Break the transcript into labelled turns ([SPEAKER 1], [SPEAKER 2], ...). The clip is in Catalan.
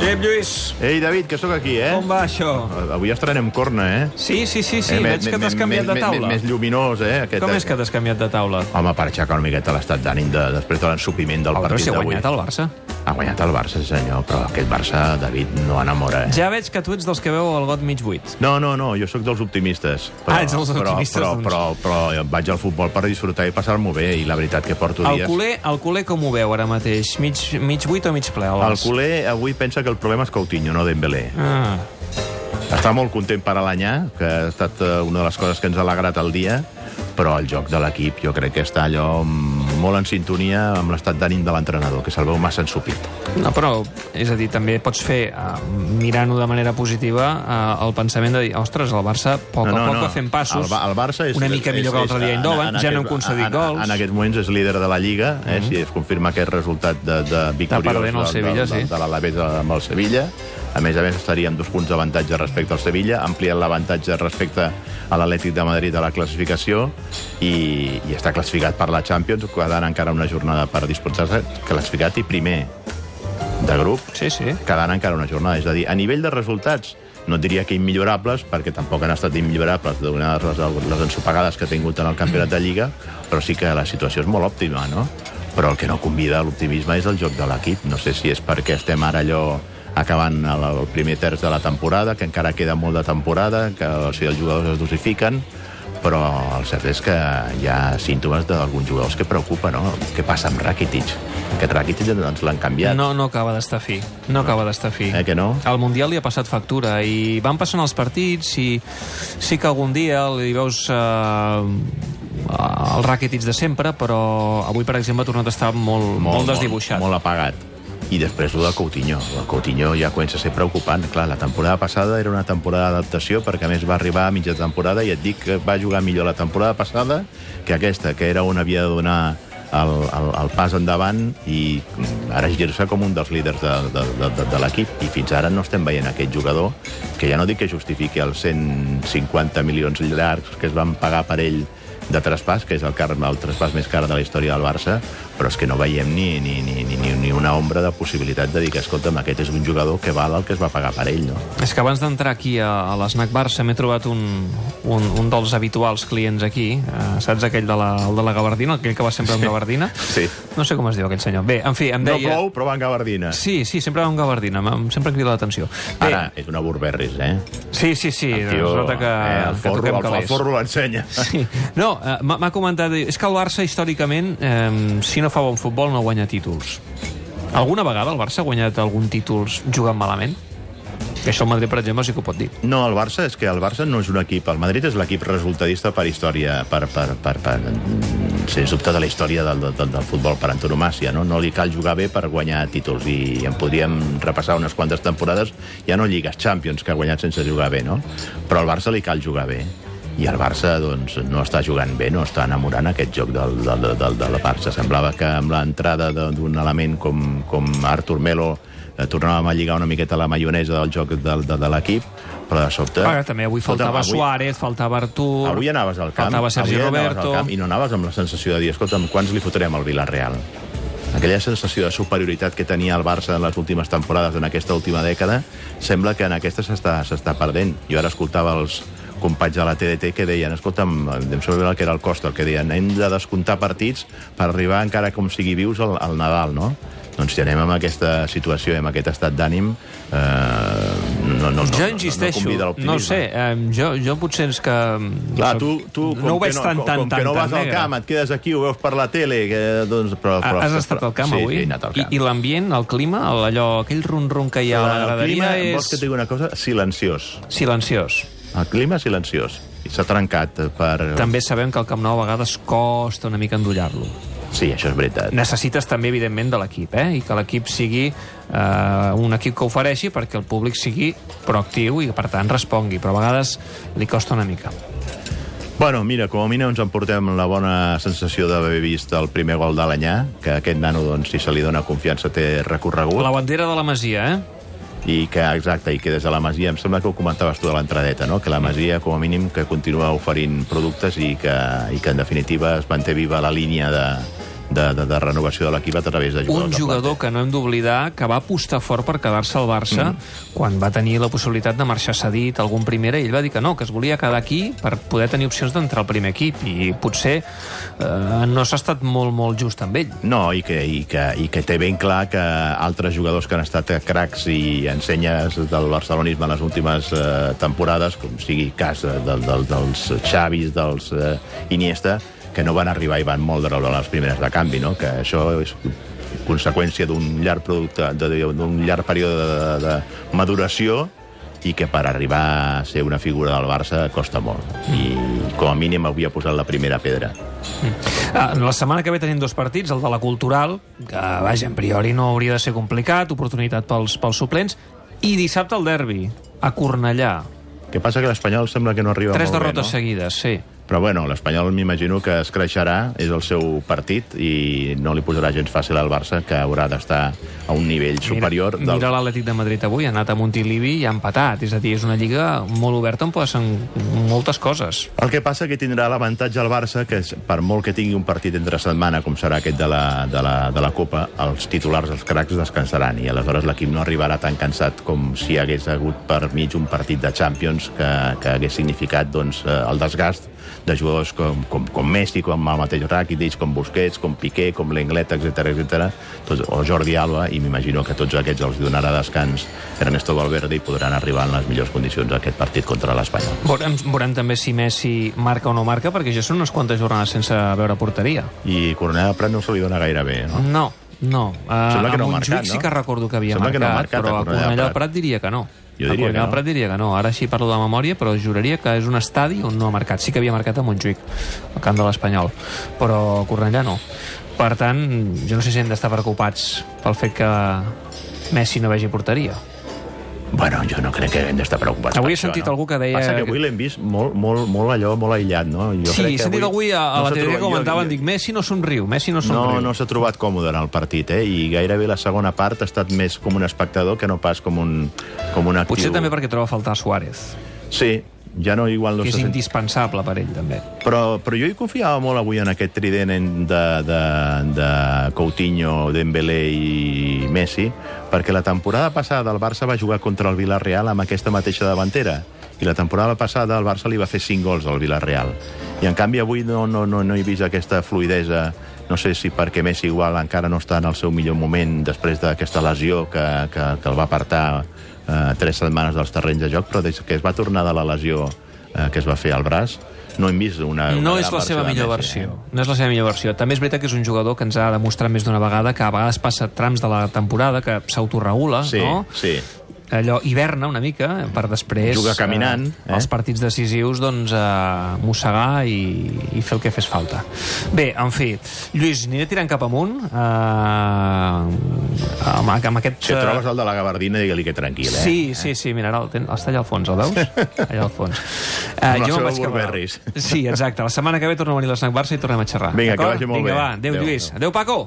[SPEAKER 1] Pep Lluís,
[SPEAKER 2] Ei, David, que sóc aquí, eh?
[SPEAKER 1] on va això?
[SPEAKER 2] Avui estrenem corna, eh?
[SPEAKER 1] Sí, sí, sí, sí,
[SPEAKER 2] eh, me-
[SPEAKER 1] veig que
[SPEAKER 2] me-
[SPEAKER 1] t'has
[SPEAKER 2] me-
[SPEAKER 1] canviat de
[SPEAKER 2] me-
[SPEAKER 1] taula.
[SPEAKER 2] me- Més lluminós, eh? Aquest,
[SPEAKER 1] Com és que t'has canviat de taula?
[SPEAKER 2] Home, per aixecar una miqueta l'estat d'ànim de, després de l'ensupiment del
[SPEAKER 1] Oh, però
[SPEAKER 2] partit
[SPEAKER 1] si ha
[SPEAKER 2] d'avui.
[SPEAKER 1] guanyat el Barça.
[SPEAKER 2] Ha guanyat el Barça, sí, senyor, però aquest Barça, David, no enamora, eh?
[SPEAKER 1] Ja veig que tu ets dels que veu el got mig buit.
[SPEAKER 2] No, no, no, jo sóc dels optimistes.
[SPEAKER 1] Ah, ets dels optimistes,
[SPEAKER 2] però,
[SPEAKER 1] doncs.
[SPEAKER 2] però, però, però vaig al futbol per disfrutar i passar-m'ho bé, i la veritat que porto
[SPEAKER 1] El
[SPEAKER 2] dies...
[SPEAKER 1] culer, el culer com ho veu ara mateix? Mig, mig buit o mig ple? El,
[SPEAKER 2] El
[SPEAKER 1] Barça?
[SPEAKER 2] culer avui pensa que el problema és Coutinho, no Dembélé.
[SPEAKER 1] Ah.
[SPEAKER 2] Està molt content per Alanyà, que ha estat eh, una de les coses que ens ha alegrat el dia, però el joc de l'equip jo crec que està allò mm, molt en sintonia amb l'estat d'ànim de l'entrenador, que se'l veu massa ensupit.
[SPEAKER 1] No, però, és a dir, també pots fer, uh, mirant-ho de manera positiva, uh, el pensament de dir, ostres, el Barça poc
[SPEAKER 2] No,
[SPEAKER 1] a
[SPEAKER 2] no,
[SPEAKER 1] poc
[SPEAKER 2] no.
[SPEAKER 1] va fent passos,
[SPEAKER 2] El, Ba- el Barça és,
[SPEAKER 1] una mica millor que l'altre dia
[SPEAKER 2] en-
[SPEAKER 1] Eindhoven,
[SPEAKER 2] en
[SPEAKER 1] ja no
[SPEAKER 2] aquest-
[SPEAKER 1] hem concedit
[SPEAKER 2] en,
[SPEAKER 1] gols. Mhm.
[SPEAKER 2] En, en aquests moments és líder de la Lliga, eh, si es confirma aquest resultat de, de victoriós
[SPEAKER 1] perdent el
[SPEAKER 2] del-
[SPEAKER 1] Sevilla,
[SPEAKER 2] del,
[SPEAKER 1] sí.
[SPEAKER 2] del, de l'Alavés amb el Sevilla. A més a més, estaria amb dos punts d'avantatge respecte al Sevilla, ampliant l'avantatge respecte a l'Atlètic de Madrid a la classificació i, i està classificat per la Champions, quedant encara una jornada per disputar-se, classificat i primer de grup,
[SPEAKER 1] Sí, sí.
[SPEAKER 2] quedant encara una jornada. És a dir, a nivell de resultats, no et diria que immillorables, perquè tampoc han estat immillorables donades les, les ensopegades que ha tingut en el campionat de Lliga, però sí que la situació és molt òptima, no? Però el que no convida a l'optimisme és el joc de l'equip. No sé si és perquè estem ara allò acabant el el primer terç de la temporada, que encara queda molt de temporada, que o sigui, els jugadors es dosifiquen, però el cert és que hi ha símptomes d'alguns jugadors que preocupa, no? Què passa amb Rakitic? Aquest Rakitic ens l'han canviat.
[SPEAKER 1] No, no acaba d'estar fi. No acaba d'estar fi.
[SPEAKER 2] Eh que no?
[SPEAKER 1] El Mundial li ha passat factura i van passant els partits i sí que algun dia li veus eh, els raquetits de sempre, però avui, per exemple, ha tornat a estar molt, molt, molt desdibuixat.
[SPEAKER 2] Molt, molt apagat. I després el de Coutinho. El Coutinho ja comença a ser preocupant. Clar, la temporada passada era una temporada d'adaptació perquè a més va arribar a mitja temporada i et dic que va jugar millor la temporada passada que aquesta, que era on havia de donar el, el, el pas endavant i mm, ara es girsa com un dels líders de, de, de, de, de l'equip i fins ara no estem veient aquest jugador que ja no dic que justifiqui els 150 milions llargs que es van pagar per ell de traspàs, que és el, car, el traspàs més car de la història del Barça, però és que no veiem ni, ni, ni, ni, ni- ni una ombra de possibilitat de dir que, escolta'm, aquest és un jugador que val el que es va pagar per ell, no?
[SPEAKER 1] És que abans d'entrar aquí a, a l'Snac Barça m'he trobat un, un, un dels habituals clients aquí, eh, saps aquell de la, el de la gabardina, aquell que va sempre amb gabardina?
[SPEAKER 2] Sí.
[SPEAKER 1] No sé com es diu aquell senyor. Bé, en fi, em
[SPEAKER 2] No
[SPEAKER 1] deia...
[SPEAKER 2] plou, però van gabardina.
[SPEAKER 1] Sí, sí, sempre amb gabardina, m'ha- sempre em crida l'atenció. Bé,
[SPEAKER 2] Ara, és una Burberris, eh?
[SPEAKER 1] Sí, sí, sí,
[SPEAKER 2] El
[SPEAKER 1] es nota que,
[SPEAKER 2] eh, el
[SPEAKER 1] que toquem
[SPEAKER 2] forro, el, el
[SPEAKER 1] calés.
[SPEAKER 2] forro l'ensenya.
[SPEAKER 1] Sí. No, eh, m'ha m'ha comentat... És que el Barça, històricament, eh, si no fa bon futbol, no guanya títols. Alguna vegada el Barça ha guanyat algun títol jugant malament? Que això el Madrid, per exemple, sí que ho pot dir.
[SPEAKER 2] No, el Barça és que el Barça no és un equip. El Madrid és l'equip resultadista per història, per, per, per, per sens dubte de la història del, del, del futbol per antonomàsia. No? no li cal jugar bé per guanyar títols i en podríem repassar unes quantes temporades, ja no lligues Champions que ha guanyat sense jugar bé, no? Però al Barça li cal jugar bé i el Barça doncs, no està jugant bé, no està enamorant aquest joc del, del, del, del Barça. Semblava que amb l'entrada de- d'un element com, com Artur Melo eh, tornàvem a lligar una miqueta la maionesa del joc del, de, de l'equip, però de sobte...
[SPEAKER 1] Ara, també avui faltava
[SPEAKER 2] Eh? Escolta'm,
[SPEAKER 1] Suárez, faltava Artur...
[SPEAKER 2] Avui anaves al camp,
[SPEAKER 1] Faltava Sergi
[SPEAKER 2] avui anaves
[SPEAKER 1] Roberto...
[SPEAKER 2] Al camp, I no anaves amb la sensació de dir, escolta'm, quants li fotrem al Villarreal? Aquella sensació de superioritat que tenia el Barça en les últimes temporades, en aquesta última dècada, sembla que en aquesta s'està s'està perdent. Jo ara escoltava els companys de la TDT que deien, escolta'm, em sembla que era el Costa, el que deien, hem de descomptar partits per arribar encara com sigui vius al, al Nadal, no? Doncs si anem amb aquesta situació, i amb aquest estat d'ànim, eh, no, no, no,
[SPEAKER 1] Jo
[SPEAKER 2] no,
[SPEAKER 1] insisteixo,
[SPEAKER 2] no, convida
[SPEAKER 1] no,
[SPEAKER 2] l'optimisme.
[SPEAKER 1] ho sé, eh, jo, jo potser és que...
[SPEAKER 2] Clar, tu, tu com,
[SPEAKER 1] no ho veig
[SPEAKER 2] que no,
[SPEAKER 1] tan,
[SPEAKER 2] com,
[SPEAKER 1] tan,
[SPEAKER 2] com
[SPEAKER 1] tan,
[SPEAKER 2] que no
[SPEAKER 1] tan
[SPEAKER 2] vas al
[SPEAKER 1] negre. Ah,
[SPEAKER 2] camp, et quedes aquí, ho veus per la tele... Que, doncs, però, però,
[SPEAKER 1] Has
[SPEAKER 2] però-
[SPEAKER 1] estat al camp
[SPEAKER 2] sí,
[SPEAKER 1] avui?
[SPEAKER 2] Sí, he anat al camp.
[SPEAKER 1] I, i l'ambient, el clima, el- allò, aquell rum-rum que hi ha a la
[SPEAKER 2] el clima,
[SPEAKER 1] graderia
[SPEAKER 2] vols que et
[SPEAKER 1] és
[SPEAKER 2] digui una cosa? Silenciós.
[SPEAKER 1] silenciós.
[SPEAKER 2] El clima és silenciós. I s'ha trencat per...
[SPEAKER 1] També sabem que el Camp Nou a vegades costa una mica endollar-lo.
[SPEAKER 2] Sí, això és veritat.
[SPEAKER 1] Necessites també, evidentment, de l'equip, eh? I que l'equip sigui eh, un equip que ofereixi perquè el públic sigui proactiu i, per tant, respongui. Però a vegades li costa una mica.
[SPEAKER 2] Bueno, mira, com a mínim ens emportem la bona sensació d'haver vist el primer gol d'Alanyà, que aquest nano, doncs, si se li dona confiança, té recorregut.
[SPEAKER 1] La bandera de la Masia, eh?
[SPEAKER 2] i que, exacte, i que des de la Masia, em sembla que ho comentaves tu de l'entradeta, no? que la Masia, com a mínim, que continua oferint productes i que, i que en definitiva es manté viva la línia de, de, de, de renovació de l'equip a través de jugadors
[SPEAKER 1] un
[SPEAKER 2] de
[SPEAKER 1] jugador
[SPEAKER 2] plantilla.
[SPEAKER 1] que no hem d'oblidar que va apostar fort per quedar-se al Barça mm. quan va tenir la possibilitat de marxar cedit a algun primera i ell va dir que no, que es volia quedar aquí per poder tenir opcions d'entrar al primer equip i potser eh, no s'ha estat molt, molt just amb ell
[SPEAKER 2] No, i que, i, que, i que té ben clar que altres jugadors que han estat cracs i ensenyes del barcelonisme en les últimes eh, temporades, com sigui cas de, de, de, dels Xavis, dels eh, Iniesta, que no van arribar i van moldre a les primeres de canvi, no? que això és conseqüència d'un llarg producte, de- de- d'un llarg període de, de maduració i que per arribar a ser una figura del Barça costa molt. I com a mínim havia posat la primera pedra.
[SPEAKER 1] Ah, La setmana que ve tenim dos partits, el de la Cultural, que, vaja, en priori no hauria de ser complicat, oportunitat pels, pels suplents, i dissabte el derbi, a Cornellà.
[SPEAKER 2] que passa que l'Espanyol sembla que no arriba
[SPEAKER 1] Tres
[SPEAKER 2] molt bé,
[SPEAKER 1] derrotes
[SPEAKER 2] no?
[SPEAKER 1] seguides, sí.
[SPEAKER 2] Però bueno, l'Espanyol m'imagino que es creixerà, és el seu partit i no li posarà gens fàcil al Barça, que haurà d'estar a un nivell superior.
[SPEAKER 1] Mira, mira l'Atlètic de Madrid avui, ha anat a Montilivi i ha empatat. És a dir, és una lliga molt oberta on passen moltes coses.
[SPEAKER 2] El que passa que tindrà l'avantatge al Barça, que és, per molt que tingui un partit entre setmana, com serà aquest de la, de la, de la Copa, els titulars, els cracs, descansaran, i aleshores l'equip no arribarà tan cansat com si hagués hagut per mig un partit de Champions que, que hagués significat doncs, eh, el desgast de jugadors com, com, com Messi, com el mateix Rakitic, com Busquets, com Piqué, com l'Englet, etc etc. Tots, o Jordi Alba, i m'imagino que tots aquests els donarà descans Ernesto Valverde i podran arribar en les millors condicions a aquest partit contra l'Espanyol.
[SPEAKER 1] Veurem, veurem també si Messi marca o no marca, perquè ja són unes quantes jornades sense veure porteria.
[SPEAKER 2] i Coronel del Prat no se li dona gaire bé, no?
[SPEAKER 1] No, no. Uh,
[SPEAKER 2] Sembla que no ha
[SPEAKER 1] a Montjuïc
[SPEAKER 2] marcat, no?
[SPEAKER 1] sí que recordo que havia
[SPEAKER 2] Sembla que
[SPEAKER 1] marcat,
[SPEAKER 2] no ha marcat a
[SPEAKER 1] però a
[SPEAKER 2] Cornellà del
[SPEAKER 1] Cornellà del
[SPEAKER 2] Prat.
[SPEAKER 1] Prat diria que no.
[SPEAKER 2] Jo
[SPEAKER 1] a
[SPEAKER 2] diria
[SPEAKER 1] Cornellà
[SPEAKER 2] que
[SPEAKER 1] del
[SPEAKER 2] no.
[SPEAKER 1] Prat diria que no. Ara sí parlo de memòria, però juraria que és un estadi on no ha marcat. Sí que havia marcat a Montjuïc, al camp de l'Espanyol, però a Cornellà no. Per tant, jo no sé si hem d'estar preocupats pel fet que Messi no vegi porteria.
[SPEAKER 2] Bueno, jo no crec que hem d'estar preocupats
[SPEAKER 1] Avui he
[SPEAKER 2] per això,
[SPEAKER 1] sentit
[SPEAKER 2] no?
[SPEAKER 1] algú que deia
[SPEAKER 2] Passa que
[SPEAKER 1] que-
[SPEAKER 2] avui l'hem vist molt, molt, molt allò, molt aïllat, no? Jo
[SPEAKER 1] sí,
[SPEAKER 2] crec
[SPEAKER 1] he
[SPEAKER 2] que
[SPEAKER 1] sentit avui a, a
[SPEAKER 2] no
[SPEAKER 1] la
[SPEAKER 2] s'ha
[SPEAKER 1] tele que
[SPEAKER 2] trobat- jo-
[SPEAKER 1] comentaven,
[SPEAKER 2] jo-
[SPEAKER 1] dic, Messi no somriu, Messi no somriu.
[SPEAKER 2] No, no s'ha trobat còmode en el partit, eh? I gairebé la segona part ha estat més com un espectador que no pas com un, com un actiu.
[SPEAKER 1] Potser també perquè troba a faltar Suárez,
[SPEAKER 2] Sí, ja no, igual no
[SPEAKER 1] que és
[SPEAKER 2] s'ha sentit.
[SPEAKER 1] indispensable per ell, també.
[SPEAKER 2] Però, però jo hi confiava molt avui en aquest trident en- de, de, de Coutinho, Dembélé i Messi, perquè la temporada passada el Barça va jugar contra el Villarreal amb aquesta mateixa davantera. I la temporada passada el Barça li va fer 5 gols al Villarreal. I en canvi avui no, no, no, no he vist aquesta fluidesa no sé si perquè Messi igual encara no està en el seu millor moment després d'aquesta lesió que, que, que el va apartar eh, tres setmanes dels terrenys de joc, però des que es va tornar de la lesió eh, que es va fer al braç, no hem vist una... una
[SPEAKER 1] No
[SPEAKER 2] gran
[SPEAKER 1] és la
[SPEAKER 2] versió
[SPEAKER 1] seva
[SPEAKER 2] de
[SPEAKER 1] millor
[SPEAKER 2] Messi, eh?
[SPEAKER 1] versió. No és la seva millor versió. També és veritat que és un jugador que ens ha demostrat més d'una vegada que a vegades passa trams de la temporada, que s'autoregula,
[SPEAKER 2] eh? Sí,
[SPEAKER 1] no?
[SPEAKER 2] sí.
[SPEAKER 1] Allò hiverna una mica, per després...
[SPEAKER 2] Juga caminant,
[SPEAKER 1] Eh,
[SPEAKER 2] eh?
[SPEAKER 1] Els partits decisius, doncs, eh, mossegar i, i fer el que fes falta. Bé, en fi, Lluís, aniré tirant cap amunt. Eh, amb, amb aquest...
[SPEAKER 2] Si et trobes el de la gabardina, digue-li que tranquil, eh?
[SPEAKER 1] Sí, sí, sí, mira, ara el ten... està allà al fons, el veus? Allà al fons. Uh,
[SPEAKER 2] la
[SPEAKER 1] cap
[SPEAKER 2] seva
[SPEAKER 1] a dalt.
[SPEAKER 2] Burberrys.
[SPEAKER 1] Sí, exacte. La setmana que ve torno a venir a l'Snac Barça i tornem a xerrar.
[SPEAKER 2] Vinga, que
[SPEAKER 1] d'acord?
[SPEAKER 2] vagi molt
[SPEAKER 1] Vinga,
[SPEAKER 2] bé.
[SPEAKER 1] va, adéu,
[SPEAKER 2] Adéu,
[SPEAKER 1] Lluís.
[SPEAKER 2] adéu.
[SPEAKER 1] Adéu, Paco.